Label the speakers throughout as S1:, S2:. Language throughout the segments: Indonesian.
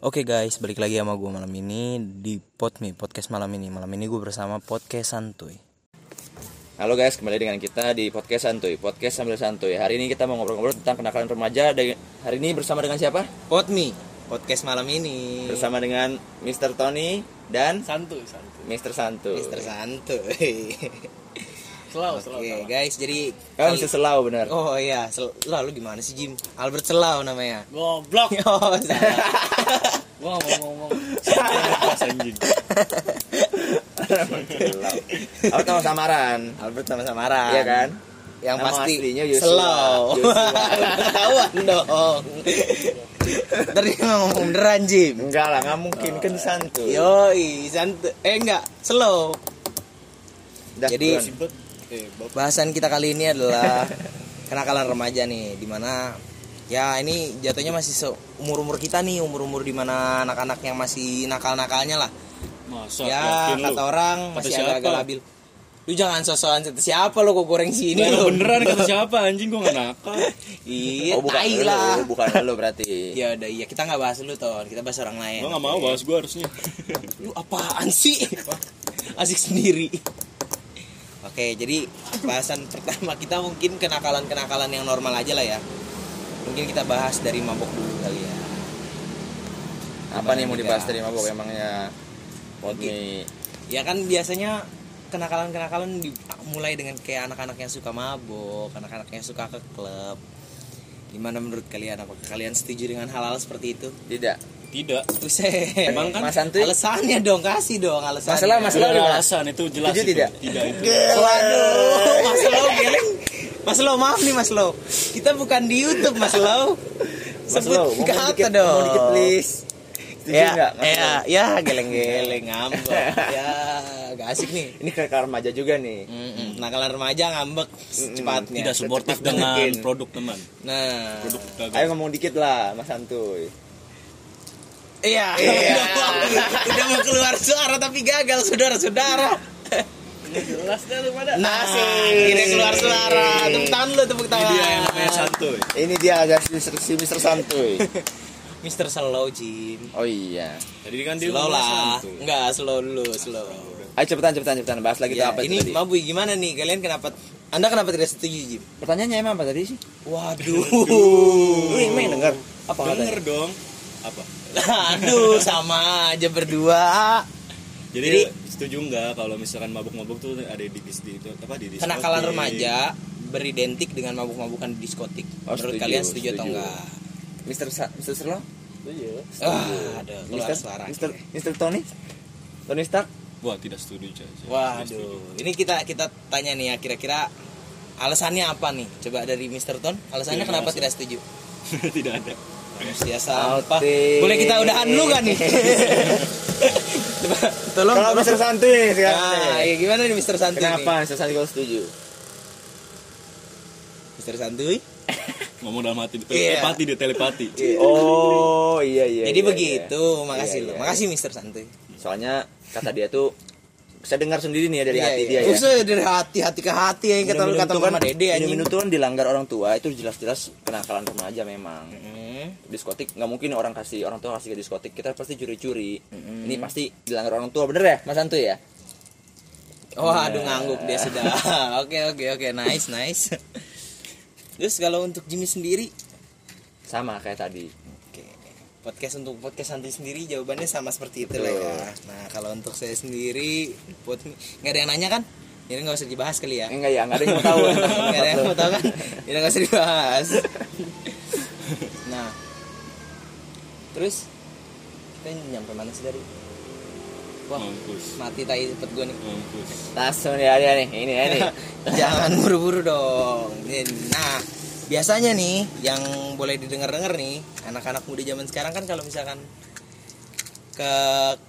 S1: Oke guys, balik lagi sama gue malam ini di Podme, podcast malam ini. Malam ini gue bersama podcast santuy.
S2: Halo guys, kembali dengan kita di podcast Santuy, podcast sambil santuy. Hari ini kita mau ngobrol-ngobrol tentang kenakalan remaja. Dan hari ini bersama dengan siapa?
S1: Podme, podcast malam ini.
S2: Bersama dengan Mr. Tony dan
S3: santuy santuy
S2: Mr. Santuy.
S1: Mister santuy.
S3: selalu selalu
S1: Oke guys, jadi
S2: Oh, Mr. Selau benar.
S1: Oh iya, Sel- lalu gimana sih Jim? Albert Selau namanya.
S3: goblok
S1: Oh, salah.
S3: gua nggak mau ngomong
S2: Selau. Albert nama samaran.
S1: Albert nama samaran.
S2: Iya kan?
S1: Yang
S2: Nama
S1: pasti
S2: aslinya Joshua.
S1: Selau.
S2: Joshua.
S1: Ketahuan dong. Tadi ngomong beneran Jim.
S2: Enggak lah, nggak mungkin kan Santuy.
S1: Yoi, santuy. Eh enggak, slow.
S2: Dah,
S1: Jadi-
S2: buruan.
S3: ribet eh bapak
S1: Bahasan kita kali ini adalah kenakalan remaja nih, dimana ya ini jatuhnya masih seumur umur kita nih, umur umur dimana anak-anak yang masih nakal-nakalnya lah.
S3: masa
S1: ya
S3: yakin lu?
S1: kata orang
S3: Kata
S1: masih
S3: siapa?
S1: agak-agak labil. Lu jangan sosokan kata siapa lo kok goreng sini
S3: Lah, emang
S1: lo.
S3: beneran kata siapa anjing gua nggak nakal
S1: Iya,
S2: Oh, bukan
S1: tai
S2: lu,
S1: lah.
S2: bukan lu berarti.
S1: Ya udah iya kita nggak bahas lu ton, kita bahas orang lain.
S3: gua nggak mau bahas gua harusnya
S1: Lu apaan sih? Asik sendiri. Oke, jadi bahasan pertama kita mungkin kenakalan-kenakalan yang normal aja lah ya. Mungkin kita bahas dari mabok dulu kali ya.
S2: Apa nih mau
S1: Juga.
S2: dibahas dari mabok emangnya? Podmi.
S1: Ya kan biasanya kenakalan-kenakalan dimulai dengan kayak anak-anak yang suka mabok, anak-anak yang suka ke klub. Gimana menurut kalian? Apakah kalian setuju dengan hal-hal seperti itu?
S2: Tidak.
S3: tidak
S1: Buset.
S3: Emang kan
S2: Mas Santuy?
S1: Alasannya dong, kasih dong alasannya.
S2: Masalah masalah
S3: Tidak ada
S2: gimana?
S3: alasan itu jelas
S2: Setuju
S3: itu.
S2: tidak?
S3: tidak itu
S1: Waduh, Mas Lo
S2: Eh.
S1: geleng. Mas Lo maaf nih Mas Lo. Kita bukan di YouTube Mas Lo.
S2: Mas
S1: Sebut
S2: Lo, ngomong
S1: kata
S2: dikit,
S1: dong.
S2: ngomong dikit, please. Setuju
S1: Ya,
S2: nggak, Mas
S1: ya,
S2: Lo?
S1: ya geleng-geleng ngambek. Ya, gak asik nih.
S2: Ini ke remaja juga nih.
S1: Mm-mm. Nakalan remaja ngambek secepatnya.
S3: tidak suportif
S2: Cepat
S3: dengan
S2: mungkin.
S3: produk teman
S1: Nah,
S3: produk
S2: Ayo
S3: dagang
S2: ngomong dikit lah, Mas Santuy.
S1: iya.
S2: Iya.
S1: Udah mau keluar suara tapi gagal saudara-saudara.
S3: jelas dah lu pada
S1: Nah,
S2: Asik.
S1: akhirnya keluar suara. Tepuk tangan lu, tepuk
S3: ini
S1: tangan.
S3: dia yang namanya santuy
S2: Ini dia agak si Mr. si Mr. Santuy.
S1: Mister Slow Jim.
S2: Oh iya.
S3: jadi kan dia
S1: Slow
S3: ngomong
S1: lah.
S3: santuy.
S1: Enggak, slow dulu, slow.
S2: Ayo cepetan cepetan cepetan bahas lagi tuh
S1: Ya,
S2: apa itu
S1: ini
S2: tadi.
S1: Mabui gimana nih? Kalian kenapa Anda kenapa tidak setuju, Jim?
S2: Pertanyaannya emang apa tadi sih?
S1: Waduh.
S2: Lu emang yang denger apa katanya?
S3: denger dong apa
S1: Aduh, sama aja berdua.
S3: jadi, setuju nggak kalau misalkan mabuk-mabuk tuh ada di di, di apa di diskotik?
S1: Kenakalan remaja beridentik dengan mabuk-mabukan di diskotik.
S2: Oh,
S1: Menurut
S2: setuju,
S1: kalian setuju, atau
S2: setuju.
S1: enggak?
S2: Mr. Sa- Mr. Serlo?
S1: Ah, ada keluar
S2: Mr.
S1: suara.
S2: Mr. Mr. Tony? Tony Stark?
S3: Wah tidak setuju Cah. Tidak setuju.
S1: Waduh, ini kita kita tanya nih ya kira-kira alasannya apa nih? Coba dari Mr. Ton, alasannya
S3: Iya,
S1: kenapa
S3: alasan.
S1: tidak setuju?
S3: tidak ada.
S1: Manusia sampah.
S2: Outing.
S1: Boleh kita udahan dulu kan nih? Coba, Tolong.
S2: Kalau
S1: tolong.
S2: Mr. Santuy nih sekarang.
S1: Nah,
S2: nih.
S1: ya gimana nih Mr. Santuy?
S2: Kenapa Mr. Santuy kalau setuju?
S1: Nih? Mr. Santuy?
S3: Ngomong dalam hati
S1: Iya.
S3: telepati dia telepati.
S2: Oh iya iya.
S1: Jadi
S2: iya,
S1: begitu,
S2: iya.
S1: makasih
S2: Iya,
S1: loh.
S2: iya.
S1: Makasih Mr. Santuy.
S2: Soalnya kata dia tuh saya dengar sendiri nih ya dari hati dia
S1: Iya,
S2: ya.
S1: Usah dari hati hati ke hati yang kata lu
S2: Minum-minum
S1: kata
S2: tuh kan-
S1: sama Dede anjing.
S2: minum-minum tuh kan dilanggar orang tua itu jelas-jelas kenakalan remaja memang.
S1: Hmm.
S2: diskotik nggak mungkin orang kasih orang tua kasih ke diskotik kita pasti curi-curi ini pasti dilanggar orang tua bener ya mas Antu ya
S1: Wah, Oh, aduh ngangguk dia sudah. Oke, oke, oke. Nice, nice. Terus kalau untuk Jimmy sendiri,
S2: sama kayak tadi
S1: Oke. Podcast untuk podcast santai sendiri jawabannya sama seperti itu lah ya.
S2: Betul.
S1: Nah kalau untuk saya sendiri buat nggak ada yang nanya kan? Jadi nggak usah dibahas kali ya.
S2: enggak ya nggak ada yang mau tahu
S1: Nggak ada yang mau tahu kan? Jadi nggak usah dibahas. nah terus kita nyampe mana sih dari? Wah
S3: Mampus.
S1: mati tai cepet gue nih.
S3: Mampus.
S2: langsung ya dia nih ini ya nih
S1: Eh, Jangan buru-buru dong. Nah, biasanya nih yang boleh didengar-dengar nih, anak-anak muda zaman sekarang kan kalau misalkan ke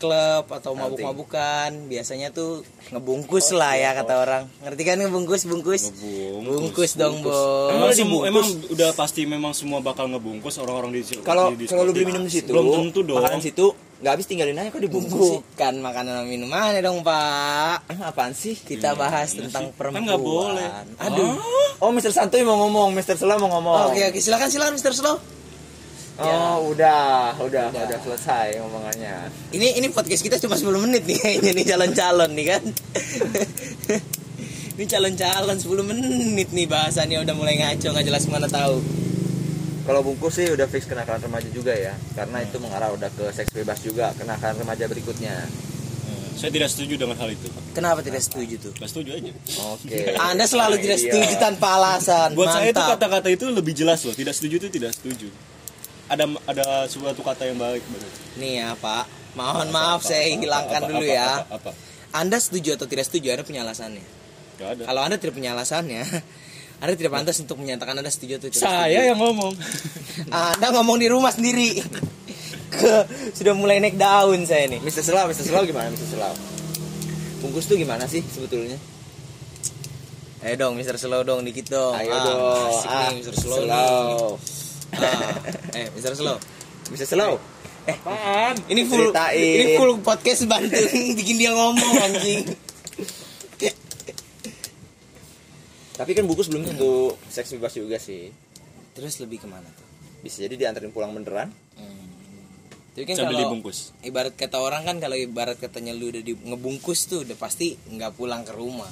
S1: klub atau mabuk-mabukan, biasanya tuh ngebungkus lah ya kata orang. Ngerti kan ngebungkus, bungkus?
S3: Ngebungkus.
S1: Bungkus dong, Bos.
S3: Emang,
S2: Lu
S3: semu-
S2: dibungkus?
S3: emang udah pasti memang semua bakal ngebungkus orang-orang di situ.
S2: kalau
S3: di diskotik.
S2: kalau lu beli minum di situ
S3: Belum tentu dong. Eh,
S2: makanan situ nggak habis tinggalin aja kok dibungkus sih
S1: Bukan makanan dan minumannya dong, Pak.
S2: emang apaan sih
S1: Kita bahas
S3: Iya
S1: tentang
S3: sih. Kan
S1: perempuan.
S3: nggak boleh.
S1: Aduh.
S2: oh Mr. Santuy mau ngomong Mr. Sela mau ngomong
S1: Oke, oke, silakan silakan Mr. Slow.
S2: Oh, udah, udah, udah, selesai omongannya.
S1: Ini ini podcast kita cuma 10 menit nih kayaknya nih calon-calon nih kan. ini calon-calon 10 menit nih bahasannya udah mulai ngaco nggak jelas mana tahu.
S2: Kalau bungkus sih udah fix kenakalan remaja juga ya,
S1: Hmm.
S2: karena itu mengarah udah ke seks bebas juga kenakalan remaja berikutnya.
S3: Saya tidak setuju dengan hal itu.
S1: Kenapa tidak setuju tuh?
S3: Gak setuju aja.
S1: Oh,
S2: Oke.
S1: Anda selalu tidak
S2: Iya.
S1: setuju tanpa alasan.
S3: Buat saya itu
S1: Mantap.
S3: kata-kata itu lebih jelas loh. Tidak setuju itu tidak setuju. Ada ada suatu kata yang baik banget.
S1: Nih ya Pak, mohon maaf saya hilangkan dulu ya.
S3: Apa? apa,
S1: Anda setuju atau tidak setuju Anda punya alasannya.
S3: Gak ada.
S1: Kalau Anda tidak punya alasannya, Anda tidak pantas untuk menyatakan Anda setuju atau tidak.
S3: Saya yang ngomong.
S1: setuju. Anda ngomong di rumah sendiri. Ke, sudah mulai naik daun saya nih.
S2: Mr. Selaw, Mr. Selaw gimana Mr. Selaw? Bungkus tuh gimana sih sebetulnya?
S1: Ayo dong Mr. Slow dong dikit dong.
S2: Ayo
S1: Ah,
S2: dong.
S1: Asik nih Mr. Slow. nih. Ah, eh Mr. Slow.
S2: Mr. Selaw.
S3: Apaan?
S1: Ini full
S2: Ceritain.
S1: ini full podcast bantu bikin dia ngomong anjing.
S2: Tapi kan bungkus belum tentu seks bebas juga sih.
S1: Terus lebih kemana tuh?
S2: Bisa jadi dianterin pulang beneran.
S1: Tapi kan
S3: Saya beli
S1: kalau-
S3: bungkus.
S1: ibarat kata orang kan kalau ibarat katanya lu udah di ngebungkus tuh udah pasti nggak pulang ke rumah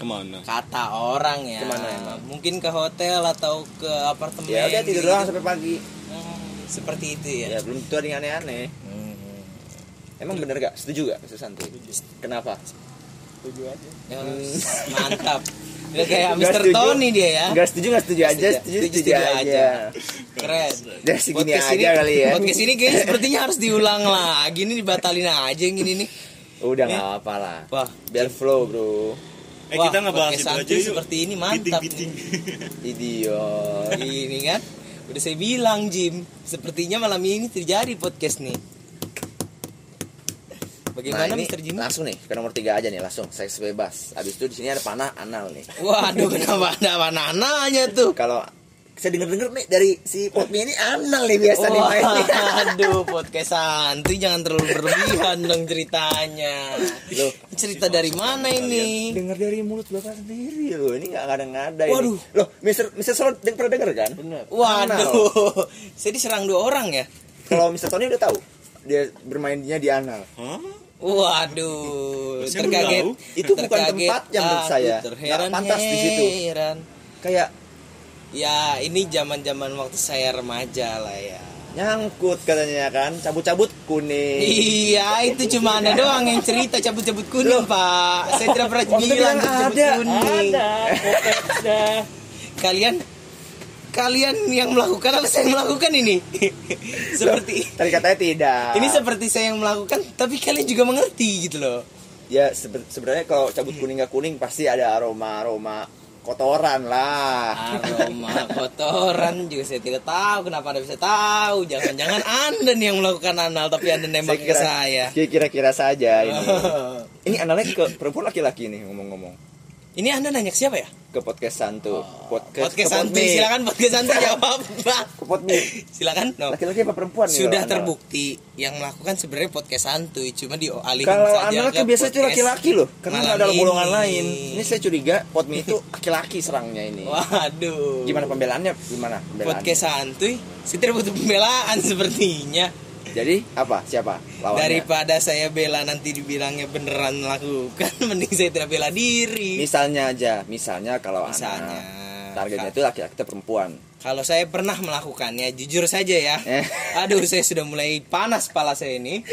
S3: Kemana?
S1: kata orang ya
S2: Kemana emang?
S1: mungkin ke hotel atau ke apartemen
S2: Ya udah tidur
S1: gitu.
S2: doang sampai pagi.
S1: Hmm, seperti itu ya,
S2: Ya belum tentu ada yang aneh-aneh.
S1: Hmm.
S2: Emang bener gak? Setuju gak Mr. Santi? Kenapa?
S1: Ya, mantap udah kayak
S2: Nggak
S1: Mr.
S2: setuju.
S1: Tony dia ya
S2: Enggak setuju, enggak setuju aja, setuju, setuju, aja.
S1: keren
S2: Udah segini aja
S1: ini,
S2: kali ya.
S1: podcast ini kayaknya sepertinya harus diulang lagi nih dibatalin aja yang ini nih
S2: Udah nggak apa lah.
S1: wah
S2: Biar flow bro.
S3: Eh
S1: Wah,
S3: kita ngebahas
S1: podcast
S3: itu aja
S1: santuy
S3: yuk.
S1: seperti ini mantap
S3: Giting, giting.
S2: Idiot.
S1: ini kan udah saya bilang Jim sepertinya malam ini terjadi podcast nih bagaimana
S2: Nah, ini
S1: Mister Jim
S2: Langsung nih ke nomor tiga aja nih langsung seks bebas. Abis itu di sini ada panah anal nih.
S1: waduh kenapa ada banananya tuh
S2: Kalau saya denger denger nih dari si potnya ini anal nih biasa nih mainnya.
S1: Waduh, podcast santuy jangan terlalu berlebihan dong ceritanya.
S2: Loh,
S1: cerita dari mana ini?
S2: Dengar dari mulut bapak sendiri loh ini nggak ngada-ngada
S1: Waduh.
S2: ini. Loh, Mister Mister Solon deng- pernah denger kan? Bener.
S1: Waduh, saya diserang dua orang ya.
S2: Kalau Mister Tony udah tahu dia bermainnya di anal.
S3: Hah?
S1: Waduh,
S3: Saya belum
S1: terkaget.
S3: tahu.
S2: Itu bukan
S1: Terkaget
S2: tempatnya menurut
S1: aku,
S2: saya.
S1: Terheran,
S2: Nggak pantas di situ.
S1: heran.
S2: Kayak
S1: Ya ini zaman-zaman waktu saya remaja lah ya.
S2: nyangkut katanya kan cabut-cabut kuning
S1: Iya itu cuma anda doang yang cerita cabut-cabut kuning pak. Saya tidak pernah
S2: Waktu
S1: bilang
S2: bilang
S1: cabut
S2: ada.
S1: kuning. Kalian kalian yang melakukan apa saya yang melakukan ini? seperti
S2: tadi katanya tidak
S1: ini seperti saya yang melakukan tapi kalian juga mengerti gitu loh.
S2: ya sebe- sebenarnya kalau cabut kuning nggak kuning pasti ada aroma aroma
S1: Ah,
S2: kotoran lah
S1: Aroma kotoran juga saya tidak tahu kenapa anda bisa tahu. Jangan-jangan anda nih yang melakukan anal tapi anda nembak ke ya saya. Oh.
S2: kira- kira-kira saja ini ini analnya ke perempuan laki-laki nih ngomong-ngomong
S1: Ini anda nanya ke siapa ya?
S2: ke podcast santu
S1: Oh.
S2: podcast,
S1: Podcast
S2: ke pod
S1: Santi,
S2: meet.
S1: silakan podcast Santi jawab. Bang.
S2: ke pod meet.
S1: silakan. No.
S2: laki-laki apa perempuan nih
S1: Sudah
S2: kalau anal?
S1: terbukti yang melakukan sebenarnya podcast santuy, cuma dialihin
S2: kalau
S1: saja
S2: anal
S1: ke
S2: kan biasanya itu
S1: podcast
S2: laki-laki loh karena nggak ada
S1: malam
S2: golongan
S1: ini.
S2: lain ini saya curiga pot meet itu laki-laki serangnya ini
S1: Waduh.
S2: gimana pembelaannya gimana pembelaannya
S1: podcast santuy? Saya tidak butuh pembelaan sepertinya.
S2: jadi apa siapa lawannya
S1: Daripada saya bela nanti dibilangnya beneran melakukan, mending saya tidak bela diri.
S2: Misalnya aja, misalnya kalau
S1: Misalnya.
S2: anak targetnya itu laki-laki atau perempuan.
S1: Kalau saya pernah melakukannya, jujur saja ya.
S2: Eh.
S1: Aduh, saya sudah mulai panas kepala saya ini.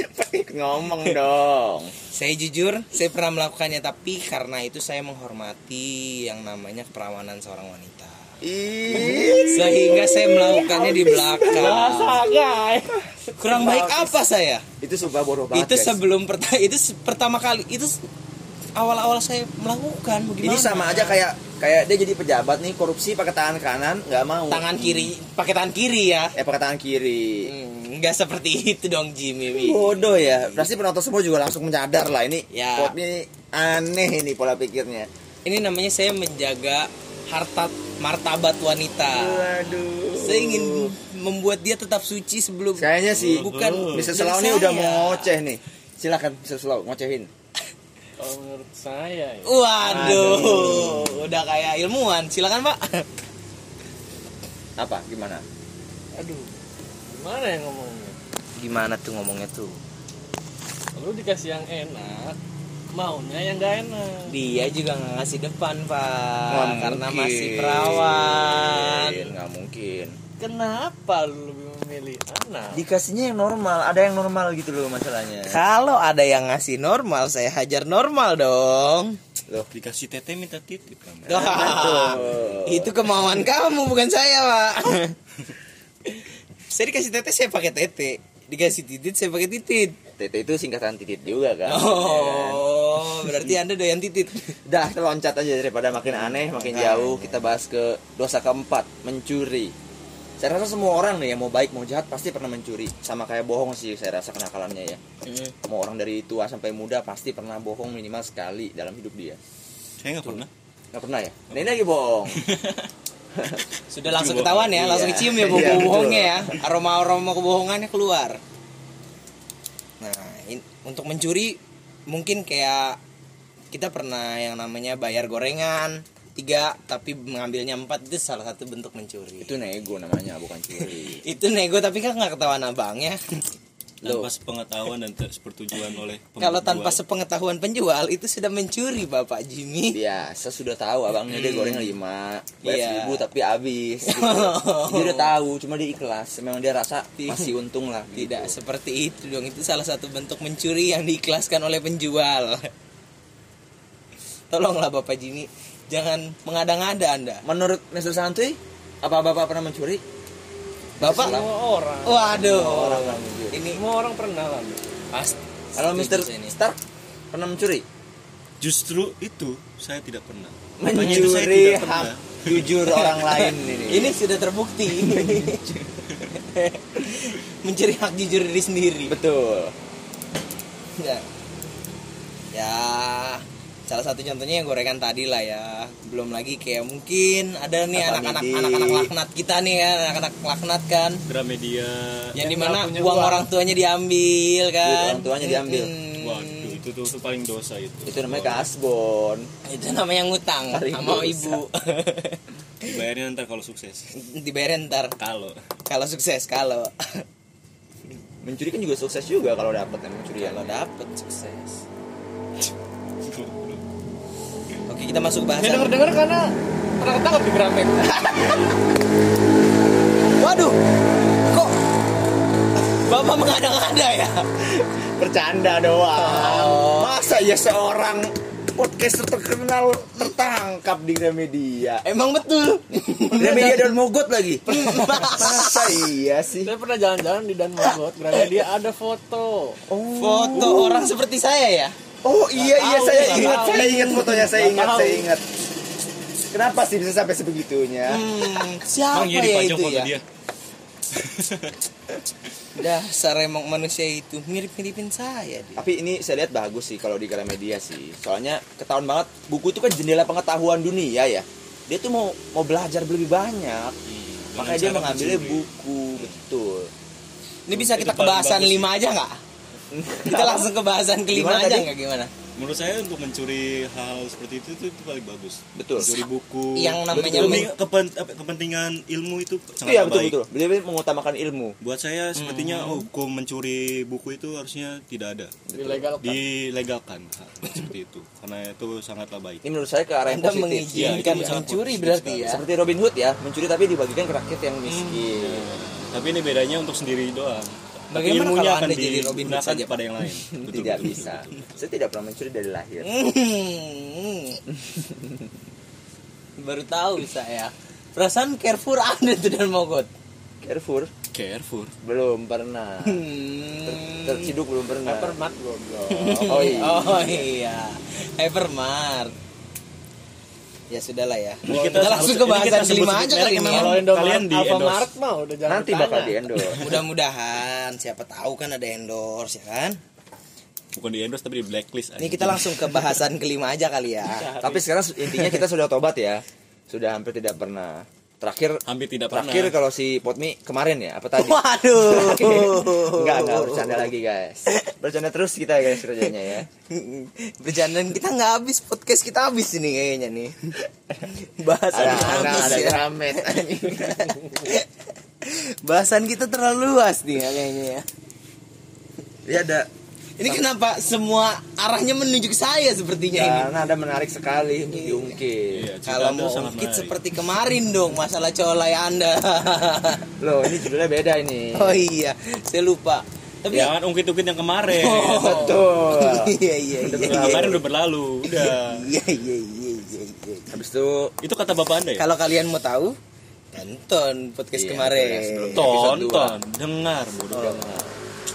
S2: Ngomong dong.
S1: Saya jujur, saya pernah melakukannya tapi karena itu saya menghormati yang namanya keperawanan seorang wanita.
S2: Ih,
S1: Sehingga saya melakukannya di belakang. Kurang baik apa saya?
S2: itu sumpah bodoh banget.
S1: Itu
S2: guys.
S1: sebelum perta- itu se- pertama kali itu se- awal-awal saya melakukan bagaimana?
S2: Ini sama aja kayak kayak dia jadi pejabat nih korupsi pakai tangan kanan nggak mau.
S1: tangan kiri, pakai tangan kiri ya.
S2: Eh pakai tangan kiri.
S1: Hmm, Nggak seperti itu dong Jimmy. Wi.
S2: Bodoh ya. Pasti penonton semua juga langsung menyadar lah ini.
S1: Ya.
S2: Pop ini aneh ini pola pikirnya.
S1: Ini namanya saya menjaga harta martabat wanita.
S2: Waduh.
S1: Saya ingin membuat dia tetap suci sebelum
S2: Kayaknya sih
S1: bukan
S2: Mr.
S1: dari
S2: Slow ini udah
S1: saya.
S2: mengoceh nih. Silakan Mr. Slow ngocehin.
S4: Kalau menurut saya ya,
S1: Waduh, udah kayak ilmuwan. Silakan Pak.
S2: Apa? Gimana?
S4: aduh, Mana yang ya ngomongnya?
S1: Gimana tuh ngomongnya tuh?
S4: Lu dikasih yang enak, maunya yang gak enak.
S1: Dia juga nggak ngasih depan
S2: Nggak
S1: pak, karena
S2: mungkin.
S1: masih perawan.
S2: nggak mungkin
S4: Kenapa lu lebih memilih anak?
S2: dikasihnya yang normal ada yang normal gitu loh masalahnya
S1: Kalau ada yang ngasih normal, saya hajar normal dong.
S2: loh
S3: Dikasih tete minta titip kamu.
S1: Wah, itu kemauan kamu bukan saya pak. saya dikasih tete saya pakai tete, dikasih titit saya pakai titit.
S2: TT itu singkatan titit juga
S1: Iya.
S2: kan
S1: Oh, berarti anda doyan titit.
S2: Dah, kita loncat aja daripada makin aneh, makin jauh. Kita bahas ke dosa keempat, mencuri. Saya rasa semua orang nih yang mau baik mau jahat pasti pernah mencuri. Sama kayak bohong sih saya rasa kenakalannya ya. Mau orang dari tua sampai muda pasti pernah bohong minimal sekali dalam hidup dia.
S3: Saya nggak pernah.
S2: Nggak pernah ya? Nah, Ini lagi bohong.
S1: Sudah langsung ketahuan ya,
S2: Iya.
S1: langsung cium ya bau
S2: Iya, betul.
S1: bohongnya ya, aroma aroma kebohongannya keluar. Nah, in- untuk mencuri mungkin kayak kita pernah yang namanya bayar gorengan tiga tapi mengambilnya empat itu salah satu bentuk mencuri.
S2: Itu nego namanya, bukan curi.
S1: Itu nego tapi kan nggak ketahuan abangnya.
S3: Tanpa sepengetahuan dan ter- sepertujuan oleh
S1: Kalau
S3: pembuat.
S1: tanpa sepengetahuan penjual itu sudah mencuri Bapak Jimmy.
S2: Dia, Iya, saya sudah tahu abangnya dia goreng lima,
S1: Iya.
S2: bayar seribu tapi habis. gitu. dia udah tahu, cuma dia ikhlas. Memang dia rasa masih untung lah.
S1: Tidak
S2: gitu.
S1: seperti itu dong. Itu salah satu bentuk mencuri yang diikhlaskan oleh penjual. Tolonglah Bapak Jimmy, jangan mengada-ngada Anda.
S2: Menurut Mr. Santuy, apa bapak pernah mencuri?
S1: Bapak,
S4: Semua orang.
S1: Oh. waduh.
S2: pernah mencuri.
S1: Ini
S4: Semua orang pernah kan?
S1: pasti.
S2: Kalau Mr.
S1: setuju saya ini.
S2: Stark pernah mencuri?
S3: Justru itu saya tidak pernah. Makanya itu saya
S2: Mencuri
S3: tidak pernah.
S2: hak jujur orang lain ini. Iya,
S1: Ini sudah terbukti. Mencuri hak jujur diri sendiri.
S2: betul.
S1: ya ya salah satu contohnya yang gorengan tadi lah ya belum lagi kayak mungkin ada nih
S2: Apa
S1: anak-anak
S2: nih, Di?
S1: anak-anak laknat kita nih ya anak-anak laknat kan
S3: Gramedia.
S1: yang,
S4: Yang
S1: dimana
S4: nggak punya
S1: uang,
S4: uang.
S1: orang tuanya diambil kan Hmm.
S2: orang tuanya diambil.
S1: Mm-mm.
S3: Waduh, itu tuh, tuh paling dosa itu.
S2: Itu namanya kasbon.
S1: itu namanya ngutang
S2: Hari
S1: sama
S2: dosa.
S1: ibu
S3: Dibayarin ntar kalau sukses.
S1: dibayarin ntar
S3: Kalau
S1: kalau sukses kalau
S2: Mencuri kan juga sukses juga kalau dapat yang mencuri ya.
S1: kalau dapet sukses oke kita masuk
S4: Ya
S1: bahasan
S4: denger-denger karena pernah ketangkep di Gramet.
S1: waduh kok bapak mengada-ngada ya
S2: Bercanda doang.
S1: Oh.
S2: Masa ya seorang podcaster terkenal tertangkap di Gramedia?
S1: Emang betul.
S2: Gramedia dan mogot lagi. Masa iya sih?
S4: Saya pernah jalan-jalan di Dan Mogot, Gramedia ada foto.
S1: Foto orang seperti saya ya.
S2: Oh iya iya
S4: tahu,
S2: saya
S4: nggak
S2: ingat
S4: tahu.
S2: saya ingat fotonya saya
S4: Nggak
S2: ingat
S4: tahu.
S2: saya ingat. Kenapa sih bisa sampai sebegitunya?
S1: Hmm, siapa
S3: Emang iya
S1: ya
S3: dipajang
S1: itu
S3: foto
S1: ya?
S3: dia.
S1: Dasar emang manusia itu mirip-miripin saya dia.
S2: Tapi ini saya lihat bagus sih kalau di Gramedia sih. Soalnya ketahuan banget buku itu kan jendela pengetahuan dunia ya. Dia tuh mau mau belajar lebih banyak.
S3: Dengan
S2: Makanya dia
S3: cara
S2: mengambilnya
S3: mencuri.
S2: buku betul.
S1: Ini bisa kita
S3: Itu
S1: ke
S3: paling
S1: bahasan
S3: bagus
S1: lima aja nggak? Kita langsung ke bahasan kelima
S2: Gimana
S1: aja
S2: tadi?
S1: nggak gimana?
S3: Menurut saya untuk mencuri hal seperti itu tuh itu paling bagus.
S2: Betul.
S3: Mencuri buku.
S1: Yang namanya
S3: Demi
S1: men-
S3: kepen- apa, kepentingan ilmu itu sangat
S2: Iya betul
S3: baik.
S2: betul. Beliau mengutamakan ilmu.
S3: Buat saya sepertinya
S1: Hmm.
S3: hukum mencuri buku itu harusnya tidak ada.
S4: Ilegal kan?
S3: Dilegalkan ha, seperti itu. Karena itu sangatlah baik.
S2: Ini menurut saya ke arah yang
S1: Anda
S2: positif.
S1: mengizinkan
S3: Iya, itu
S1: mencuri
S3: sangat
S1: berarti
S3: positif
S1: ya.
S2: Seperti Robin Hood ya, mencuri tapi dibagikan ke rakyat yang miskin.
S3: Tapi ini bedanya untuk sendiri doang. Tapi
S1: Bagaimana
S3: ilmunya
S1: kalau
S3: akan
S1: Anda jadi Robin Hood
S3: digunakan
S1: saja, Pak?
S3: kepada yang lain.
S2: Tidak
S3: Betul, betul,
S2: bisa.
S3: betul, betul.
S2: Saya tidak pernah mencuri dari lahir.
S1: Hmm. Baru tahu saya. Perasaan Carrefour ada tuh dan Mogot.
S2: Carrefour
S3: Careful.
S2: belum pernah. Ter-
S1: Hmm.
S2: terciduk belum pernah.
S4: Hypermart goblok.
S2: Oh iya.
S1: Oh iya, Hypermart. Ya sudahlah ya. Kita,
S3: Ini kita sebut-
S1: langsung ke
S3: ini kita
S1: bahasan
S3: sebut
S1: kelima
S3: sebut
S1: aja
S3: merek
S1: kali ini.
S3: emang.
S1: ya.
S4: Kalau Indomaret
S3: Kalian di-endorse.
S4: Alfamart mah udah jangan
S2: Nanti bakal di
S4: ditanya.
S2: endorse.
S1: Mudah-mudahan siapa tahu kan ada endorse ya kan.
S3: Bukan di endorse tapi di blacklist.
S1: Ini
S2: Iya.
S1: kita langsung ke bahasan kelima aja kali ya.
S2: Tapi sekarang intinya kita sudah tobat ya. Sudah hampir tidak pernah. Terakhir
S3: hampir tidak
S2: terakhir
S3: pernah.
S2: kalau si Potmi kemarin ya, apa tadi?
S1: Waduh.
S2: enggak, enggak bercanda lagi guys. Bercanda terus kita guys kerjanya ya.
S1: Bercandaan kita nggak habis podcast kita habis ini kayaknya nih. Bahasan
S2: Ada
S1: kita ya.
S2: ada
S1: habis
S2: ada
S1: ya.
S2: ramet.
S1: Bahasan kita terlalu luas nih ya, kayaknya ya.
S2: Jadi ada
S1: Ini kenapa semua arahnya menuju ke saya sepertinya ini?
S2: karena ada menarik sekali untuk diungkit.
S3: Iya, cerita
S1: Kalau
S3: Anda
S1: mau
S3: sangat
S1: ungkit
S3: menarik.
S1: seperti kemarin dong masalah colai Anda.
S2: Loh, ini judulnya beda ini.
S1: oh iya, saya lupa. Tapi
S2: Ya.
S3: Jangan ungkit-ungkit yang kemarin.
S1: Oh,
S2: Betul.
S1: iya iya iya.
S3: Yang kemarin udah berlalu, udah.
S1: Iya iya iya iya. iya.
S2: Habis itu
S3: Itu kata bapak anda ya?
S1: Kalau kalian mau tahu, tonton podcast
S2: Iya,
S1: kemarin.
S2: podcast sebelum- episode dua.
S3: Tonton, dengar, bodoh
S1: Oh.
S3: dengar.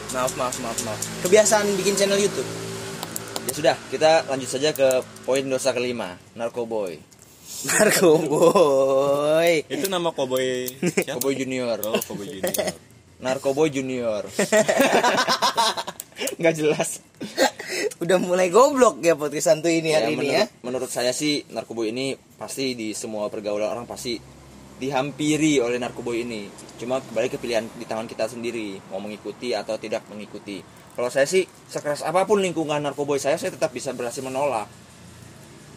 S1: Maaf maaf maaf maaf. Kebiasaan bikin channel YouTube.
S2: ya sudah, kita lanjut saja ke poin dosa kelima, narkoboy.
S1: Marco Boy.
S3: Itu nama koboi siapa?
S2: Cowboy Junior.
S3: Oh, koboi junior.
S2: Narkoboy Junior. Nggak jelas.
S1: Udah mulai goblok ya podcast santu ini hari ini ya.
S2: Iya, menurut, menurut saya sih narkoboy ini pasti di semua pergaulan orang pasti dihampiri oleh narkoboy ini. Cuma kembali ke pilihan di tangan kita sendiri mau mengikuti atau tidak mengikuti. Kalau saya sih sekeras apapun lingkungan narkoboy saya saya tetap bisa berhasil menolak.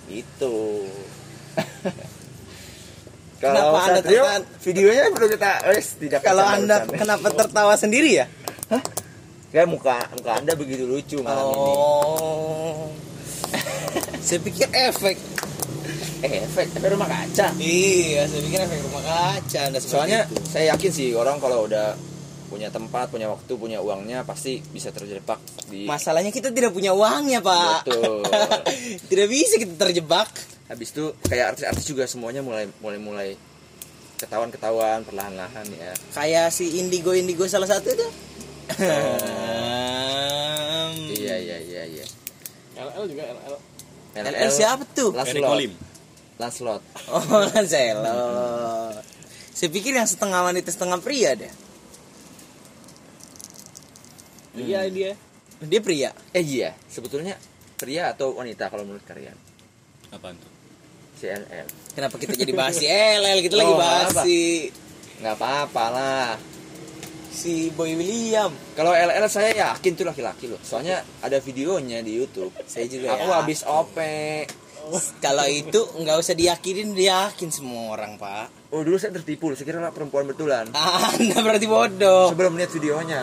S2: Itu.
S1: Kenapa Anda
S2: Satrio,
S1: tertahan?
S2: videonya belum kita wes, tidak
S1: Kalau
S2: bercanda,
S1: Anda
S2: bercanda.
S1: kenapa tertawa sendiri ya?
S2: Kayak muka muka Anda begitu lucu malam
S1: Oh. saya pikir efek.
S2: ini. Eh, efek efek rumah kaca.
S1: Iya, saya pikir efek rumah kaca. Anda seperti
S2: soalnya
S1: itu.
S2: saya yakin sih orang kalau udah punya tempat punya waktu punya uangnya pasti bisa terjebak di
S1: masalahnya kita tidak punya uangnya, Pak.
S2: Betul.
S1: tidak bisa kita terjebak.
S2: habis itu kayak artis-artis juga semuanya mulai mulai mulai ketahuan-ketahuan perlahan-lahan ya
S1: Kayak si Indigo Indigo salah satu itu. Em,
S2: iya iya iya iya
S4: LL juga LL
S1: LL Eh, siapa tuh?
S3: Eric
S2: Lancelot
S3: Olim.
S2: Lancelot
S1: Oh, Lancelo. Saya pikir yang setengah wanita setengah pria deh.
S4: Iya dia
S1: Dia pria.
S2: eh iya sebetulnya pria atau wanita kalau menurut kalian
S3: Apaan tuh?
S2: si LL
S1: Kenapa kita jadi bahas si LL? Kita lagi
S2: Oh,
S1: bahas
S2: apa?
S1: si
S2: nggak apa-apa lah
S1: si Boy William.
S2: kalau LL saya yakin tuh laki-laki loh soalnya ada videonya di YouTube
S1: Saya juga.
S2: aku
S1: ya.
S2: habis OP
S1: Kalau itu nggak usah diyakinin, diyakin semua orang, Pak.
S2: Oh dulu saya tertipu, saya kira perempuan betulan.
S1: Anda berarti bodoh.
S2: Sebelum lihat videonya.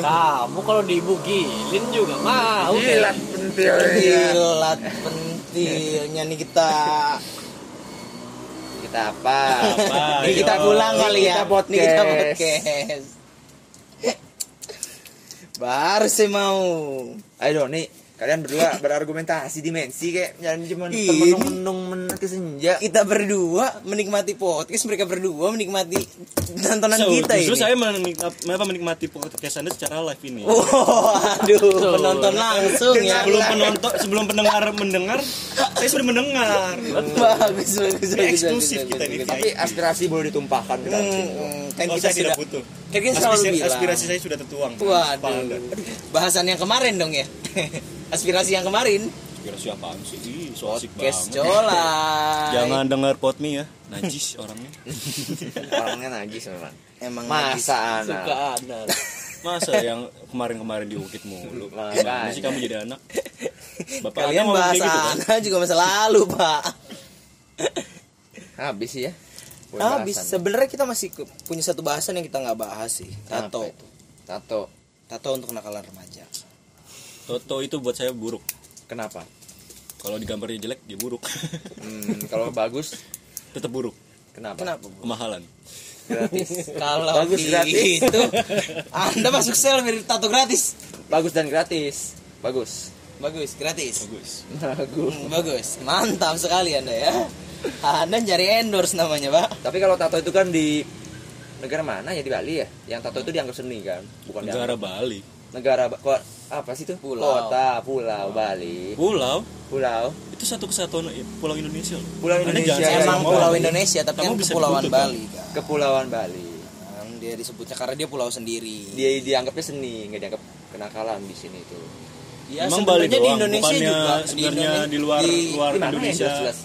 S4: Kamu kalau dibugilin juga mau
S2: Jilat Iya. pentilnya.
S1: Pentilat pentilnya nih kita.
S2: Kita apa?
S3: Apa?
S1: Nih kita
S3: Ayo.
S1: pulang kali ya.
S2: Kita podcast.
S1: Nih kita podcast. Baru sih mau.
S2: Ayo dong nih, kalian berdua berargumentasi dimensi kayak jangan cuma
S1: Ini.
S2: menung-menung menanti senja.
S1: Kita berdua menikmati podcast, mereka berdua menikmati tontonan
S3: So,
S1: kita
S3: justru
S1: ini.
S3: saya menikmati, menikmati podcast anda secara live ini.
S1: Oh, aduh, penonton langsung ya.
S3: Sebelum penonton, sebelum pendengar mendengar, saya sudah mendengar.
S1: Bagus, bagus,
S3: Ini
S1: bagus,
S3: eksklusif
S1: bagus,
S3: kita
S1: bagus,
S3: ini.
S1: bagus.
S2: Tapi aspirasi boleh ditumpahkan kita.
S1: Hmm, kan kita
S3: Kalau Oh,
S1: sudah
S3: saya tidak butuh.
S1: Kan kita selalu
S3: Aspirasi,
S1: bilang.
S3: aspirasi kan? saya sudah tertuang. Apa Anda?
S1: Waduh. Bahasan yang kemarin dong ya. Aspirasi yang kemarin.
S3: Aspirasi apaan sih? Ih, so asik
S1: Podcast
S3: banget.
S1: colai.
S3: Jangan dengar potmi ya, najis orangnya.
S2: Orangnya najis memang.
S1: emang
S2: Masa anak.
S4: Suka anak
S3: Masa yang kemarin-kemarin diungkit mulu. Gimana sih kamu jadi anak? Bapak
S1: kalian
S3: Anda ngomong
S1: bahasa
S3: kayak gitu, kan?
S1: anak juga masa lalu, Pak.
S2: Habis sih ya. Buat
S1: Habis
S2: bahasan.
S1: Ah, sebenarnya kita masih ke- punya satu bahasan yang kita nggak bahas sih.
S2: Apa
S1: Tato.
S2: itu? Tato.
S1: Tato untuk nakalan remaja.
S3: Toto itu buat saya buruk.
S2: Kenapa?
S3: Kalau digambarnya jelek, dia buruk.
S2: Hmm, kalau bagus
S3: Tetap buruk.
S2: kenapa?
S1: Kenapa? Bu?
S3: Kemahalan.
S2: Gratis.
S1: Kalau
S2: Bagus, gratis.
S1: itu Anda masuk sel mirip tato gratis.
S2: bagus dan gratis. Bagus.
S1: Bagus, gratis.
S3: Bagus.
S2: Bagus.
S1: Hmm, Bagus, mantap sekali Anda ya. Anda cari endorse namanya, Pak.
S2: Tapi kalau tato itu kan di negara mana ya di Bali ya? Yang tato itu dianggap seni kan, bukan
S3: Negara
S2: dianggap-
S3: Bali.
S2: negara ba- ko- apa sih itu?
S1: Pulau.
S2: Kota, pulau Bali.
S3: Pulau
S2: Pulau.
S3: itu satu kesatuan eh, pulau Indonesia loh.
S2: Pulau
S3: Anda
S2: Indonesia,
S3: jangan salah
S2: ya.
S1: Emang
S3: ngomong.
S1: pulau Indonesia tapi
S3: Iya, Kamu
S1: kan
S3: bisa
S1: kepulauan
S3: dituntut,
S1: Bali kan.
S2: Kepulauan Bali.
S1: Kan Dia disebutnya karena dia pulau sendiri.
S2: Dia dianggapnya seni, nggak dianggap kenakalan di sini itu.
S1: Ya,
S3: Emang
S1: sebenarnya
S3: Bali doang,
S1: di Indonesia
S3: bukannya
S1: juga
S3: sebenarnya di luar
S1: di-
S3: luar
S2: Di mana ya?
S3: Indonesia
S2: Jelas-jelas.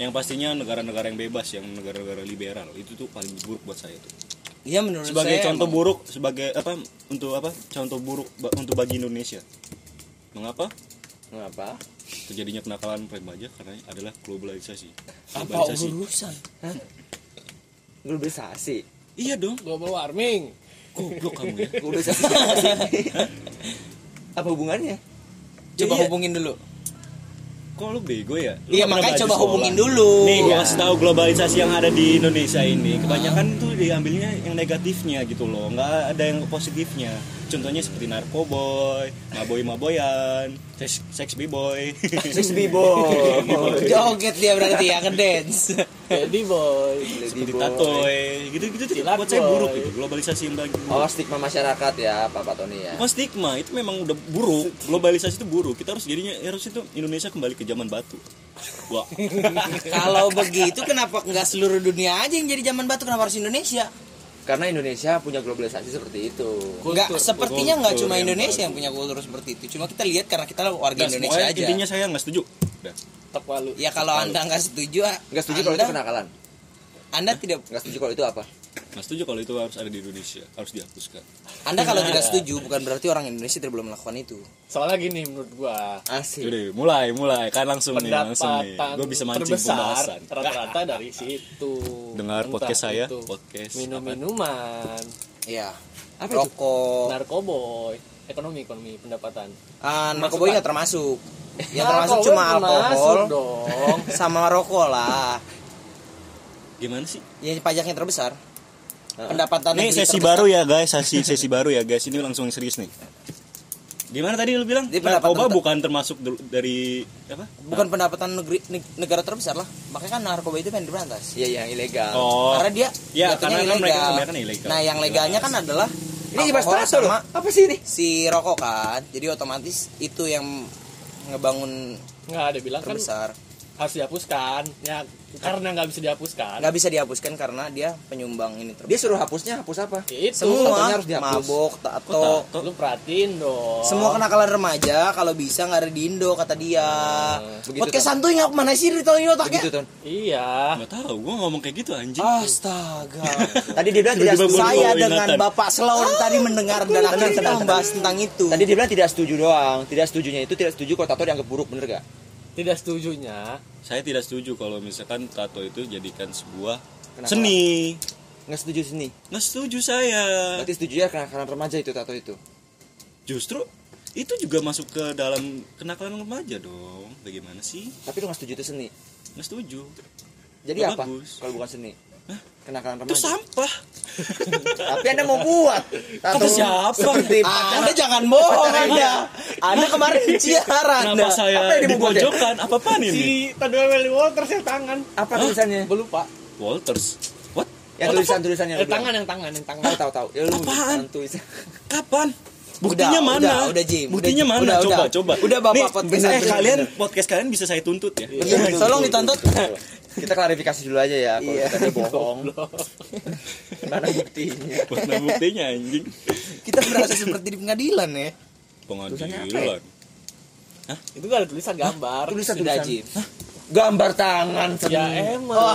S3: yang pastinya negara-negara yang bebas, yang negara-negara liberal itu tuh paling buruk buat saya tuh.
S1: Iya menurut
S3: Sebagai
S1: saya
S3: contoh
S1: emang.
S3: buruk, sebagai apa untuk apa contoh buruk ba- untuk bagi Indonesia. Mengapa
S2: Kenapa?
S3: terjadinya kenakalan remaja karena adalah globalisasi.
S1: apa
S3: Globalisasi.
S1: urusan?
S2: Globalisasi.
S3: Iya dong.
S4: global warming
S3: Goblok kamu ya.
S2: Udah sih. Apa hubungannya?
S1: Coba
S3: Iya.
S1: hubungin dulu.
S3: Kok lu bego ya? Lu
S1: Iya
S3: nggak pernah
S1: makanya
S3: belajar
S1: coba
S3: sekolah.
S1: hubungin dulu.
S3: Nih iya. gue kasih tahu globalisasi yang ada di Indonesia ini kebanyakan tuh diambilnya yang negatifnya gitu loh, nggak ada yang positifnya. Contohnya seperti narkoboy, maboy maboyan, seks seks b-boy.
S2: Six Bibo.
S1: Joget dia berarti ya ngedance.
S4: jadi boy
S3: seperti ya. tatoy gitu-gitu tuh
S4: Silat,
S3: buat saya
S4: boy.
S3: buruk gitu globalisasi yang bagi
S2: Oh stigma masyarakat ya Pak Pak Tony ya.
S3: Bukan stigma itu memang udah buruk globalisasi itu buruk kita harus jadinya harus itu Indonesia kembali ke zaman batu wah
S1: Kalau begitu kenapa nggak seluruh dunia aja yang jadi zaman batu kenapa harus Indonesia?
S2: Karena Indonesia punya globalisasi seperti itu.
S1: Nggak sepertinya nggak
S3: kultur
S1: cuma
S3: yang
S1: Indonesia
S3: baru.
S1: yang punya kultur seperti itu. Cuma kita lihat karena kita warga
S3: Nggak,
S1: Indonesia
S3: pokoknya
S1: aja.
S3: intinya saya nggak setuju Udah.
S4: tak malu
S1: Ya kalau anda nggak setuju, ah,
S2: Enggak
S3: Nah,
S2: setuju kalau itu
S1: anda,
S2: kenakalan.
S1: anda tidak,
S2: Enggak setuju kalau itu apa?
S3: nggak setuju kalau itu harus ada di Indonesia harus dihapuskan
S1: anda kalau tidak setuju bukan berarti orang Indonesia tidak belum melakukan itu.
S4: soalnya gini menurut gua
S2: Asik.
S3: Jadi mulai mulai kan langsung nih langsung nih
S4: pendapatan
S3: gue bisa mancing
S4: terbesar
S3: pembahasan
S4: rata-rata dari situ
S3: Dengar
S4: Entah
S3: podcast saya,
S4: itu
S3: podcast
S4: minum-minuman
S1: Iya.
S2: Apa itu?
S4: Nah,
S1: Rokok.
S4: narkoboy ekonomi ekonomi pendapatan
S1: Ah, narkoba nggak termasuk. Yang Ya, termasuk
S4: Narkoboy
S1: cuma
S4: termasuk
S1: alkohol
S4: dong
S1: sama rokok lah.
S3: gimana sih
S1: Ya pajaknya terbesar. Pendapatan
S3: ini
S1: negeri
S3: sesi
S1: terbesar.
S3: baru ya guys sesi sesi baru ya guys ini langsung serius nih gimana tadi lu bilang
S1: Jadi pendapatan
S3: narkoba
S1: ter-
S3: bukan termasuk dulu dari apa
S1: Bukan pendapatan negeri neg- negara terbesar lah. Makanya kan narkoba itu pengen diberantas.
S2: Iya yang ilegal.
S3: oh
S1: Karena dia
S3: Ya,
S1: jatuhnya
S3: karena kan mereka kebanyakan ilegal.
S1: Nah, yang legalnya kan adalah
S2: Ini dibahas
S1: alkohol
S2: tato loh.
S1: sama
S2: Apa sih ini?
S1: si rokok kan. Jadi otomatis itu yang ngebangun
S4: nggak ada bilang kan
S1: terbesar.
S4: harus dihapuskan ya karena nggak bisa dihapuskan
S1: Nggak bisa dihapuskan karena dia penyumbang ini
S2: Dia
S1: terbesar.
S2: suruh hapusnya, hapus apa?
S4: Ya itu
S1: Semua
S2: Katanya harus dihapus. Oh.
S1: mabok,
S3: Kok
S1: tato,
S3: tato?
S4: lu perhatiin dong
S1: Semua kan- kenakalan remaja kalau bisa nggak ada di Indo kata dia.
S2: Oh, begitu,
S1: Podcast
S2: Tan.
S1: santuy nggak kemana sih Rito ini otaknya?
S2: Begitu, Ton.
S4: iya
S3: nggak tahu gue ngomong kayak gitu anjing
S1: Astaga.
S2: Tadi dia bilang tidak setuju.
S3: Tiba-tiba gua-
S1: Saya
S3: Ingatan.
S1: dengan Bapak Selaun tadi mendengar dan akan kita Ah, membahas tentang itu. Ah,
S2: Tadi dia bilang tidak setuju doang. Tidak setujunya itu tidak setuju kalau tato dianggap buruk, bener gak?
S4: tidak setujunya
S3: saya tidak setuju kalau misalkan tato itu jadikan sebuah
S2: Kenapa?
S3: seni
S2: Nggak setuju sini.
S3: nggak setuju saya
S2: Berarti setuju ya kenakalan remaja itu tato itu.
S3: justru itu juga masuk ke dalam kenakalan remaja dong bagaimana sih
S2: Tapi lu nggak setuju itu seni.
S3: nggak setuju
S2: Jadi
S3: Nggak
S2: apa?
S3: bagus.
S2: Kalau bukan seni. Kenakalan
S3: itu
S2: remaja.
S3: sampah
S2: Tapi Anda mau buat. Tato
S3: Kata siapa? Ah.
S2: Seperti
S1: Anda jangan bohong Anda. Anda kemarin siaran Anda.
S3: kenapa saya
S2: apa yang
S3: di
S2: dibuat ya?
S3: pojokan apa apaan ini
S4: si Tadu Emily Walters yang tangan
S2: apa tulisannya?
S4: lupa
S3: Walters what
S2: Ya tulisan-tulisan yang
S4: yang Eh, tangan yang tangan yang tangan
S2: Tahu tahu tahu. Ya lu
S3: Apaan?
S2: tulisan- tulisan.
S3: kapan buktinya
S1: Udah,
S3: mana
S1: udah, udah, Jim.
S3: buktinya
S1: Udah,
S3: mana
S1: udah,
S3: coba
S1: udah.
S3: coba
S1: Udah, Bapak,
S3: Nih,
S1: podcast Iya.
S3: eh,
S1: saya.
S3: kalian podcast kalian bisa saya tuntut ya
S1: Tolong ditonton.
S2: Iya, Kita klarifikasi dulu aja ya kalau
S1: Iya.
S2: kita ada bohong. Mana buktinya?
S3: buat nemu buktinya anjing
S1: Kita berasa seperti di pengadilan ya.
S3: pengadilan
S4: itu gak ada tulisan gambar
S2: Tulisan
S1: Sudah
S2: tulisan.
S1: Jim.
S2: Gambar tangan seni.
S4: ya emang
S1: Oh.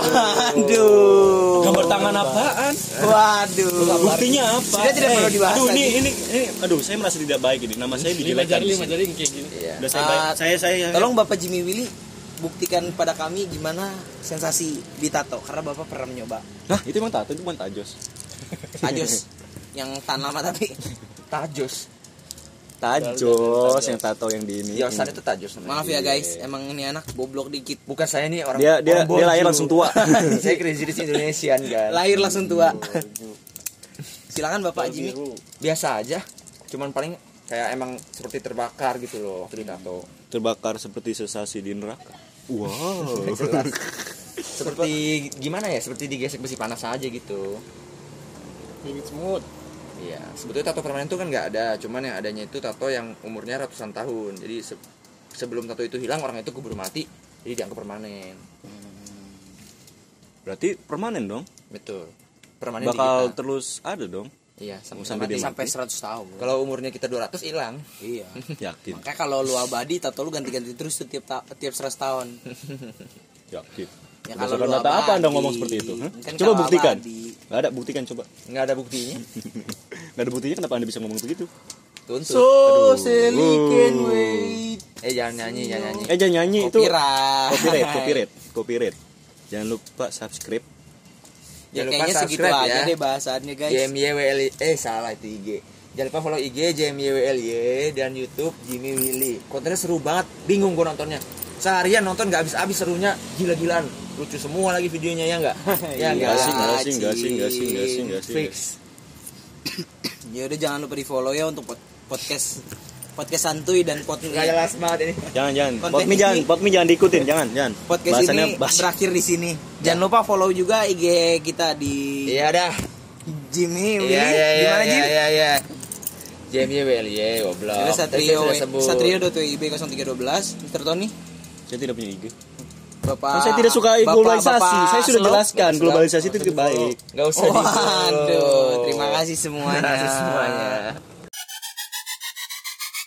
S1: Aduh.
S3: gambar tangan apaan
S1: Waduh.
S3: buktinya apa
S1: Sudah tidak
S3: Eh,
S1: perlu dibahas
S3: aduh ini,
S1: lagi.
S3: ini ini aduh saya merasa tidak baik ini nama saya
S4: lima
S3: dijelekan
S4: jari lima jari kayak gini
S2: Iya.
S3: udah saya, baik-
S1: Ah,
S3: saya saya
S1: Tolong Bapak Jimmy Willy buktikan pada kami gimana sensasi ditato karena Bapak pernah mencoba.
S3: nah itu emang tato itu bukan tajos
S1: Ajos yang tan lama tapi
S2: Tajos.
S1: Ah,
S3: tajos yang tato yang di ini
S2: Ya sana itu tajos namanya. Iya,
S1: maaf ya guys, emang ini anak goblok dikit.
S2: Bukan saya nih orang
S3: Dia- dia-
S2: orang
S3: dia lahir
S2: Bonju.
S3: langsung tua.
S2: saya crazy di Indonesian kan.
S1: Lahir langsung tua. Silakan Bapak Jimmy.
S4: biru
S2: Biasa aja. Cuman paling kayak emang seperti terbakar gitu loh waktu di tato.
S3: terbakar seperti sensasi di neraka wow
S2: Jelas. seperti gimana ya? Seperti digesek besi panas aja gitu.
S4: bibit smooth
S2: Iya, sebetulnya tato permanen itu kan nggak ada, cuman yang adanya itu tato yang umurnya ratusan tahun. Jadi se- sebelum tato itu hilang orang itu keburu mati, jadi dianggap permanen.
S3: berarti permanen dong
S2: Betul. Permanen di
S3: bakal
S2: kita.
S3: terus ada dong
S2: Iya, sampai,
S3: sampai
S2: mati.
S3: dia
S1: Sampai 100 tahun.
S2: Kalau umurnya kita 200 hilang.
S1: Iya.
S3: yakin
S1: Makanya kalau lu abadi tato lu ganti-ganti terus tuh tiap ta- tiap 100 tahun.
S3: yakin
S1: Ya, kalau
S3: berdasarkan
S1: lu
S3: data apa anda
S1: abadi.
S3: ngomong seperti itu Hah?
S1: Kan
S3: coba
S1: kalau
S3: buktikan
S1: abadi.
S3: nggak ada buktikan coba
S2: nggak ada buktinya.
S3: nggak ada buktinya kenapa anda bisa ngomong begitu
S2: Tuntut.
S1: So,
S3: Aduh.
S1: Sally can
S3: Wow.
S1: wait. Ah,
S2: Eh jangan nyanyi, jangan nyanyi.
S3: eh jangan nyanyi itu
S1: Copyright.
S3: copyright copyright copyright jangan lupa subscribe
S1: Ya,
S2: Jangan lupa
S1: kayaknya segitu
S2: subscribe
S1: aja
S2: ya.
S1: deh bahasannya guys.
S2: JMYWLY eh salah itu IG. Jangan lupa follow IG JMYWLY dan YouTube Jimmy Willy. Kontennya seru banget, bingung gua nontonnya. Seharian nonton gak habis-habis serunya, gila-gilaan. Lucu semua lagi videonya ya enggak? ya
S3: Iya
S2: nggak
S3: sih, nggak sih, nggak sih, nggak sih, nggak sih, nggak sih.
S2: Fix.
S1: Ya udah jangan lupa di follow ya untuk pod- podcast podcast santuy dan pod
S2: Nggak jelas banget ini.
S3: Jangan jangan.
S1: Konten
S3: Potmi
S1: ini-
S3: jangan, potmi jangan diikutin, jangan, jangan.
S1: podcast
S3: Bahasannya
S1: ini
S3: bahas-
S1: berakhir di sini. Jangan lupa follow juga IG kita di
S2: Iya dah.
S1: Jimmy Willy.
S2: Iya iya iya
S1: Gimana
S2: iya
S1: Jim?
S2: iya. iya. JMYWLY goblok.
S1: Ada Satrio
S2: Tadi saya sebut.
S1: Satrio.wib 0312 Mr. Tony
S3: Saya tidak punya IG.
S1: Bapak
S3: Kan saya tidak suka
S1: Bapak-
S3: globalisasi.
S1: Bapak
S3: Saya sudah
S1: Slow.
S3: jelaskan
S2: Slow.
S3: globalisasi itu
S2: Nggak usah
S3: tidak baik.
S2: Nggak usah di
S1: Waduh, terima kasih semuanya.
S2: Terima kasih semuanya.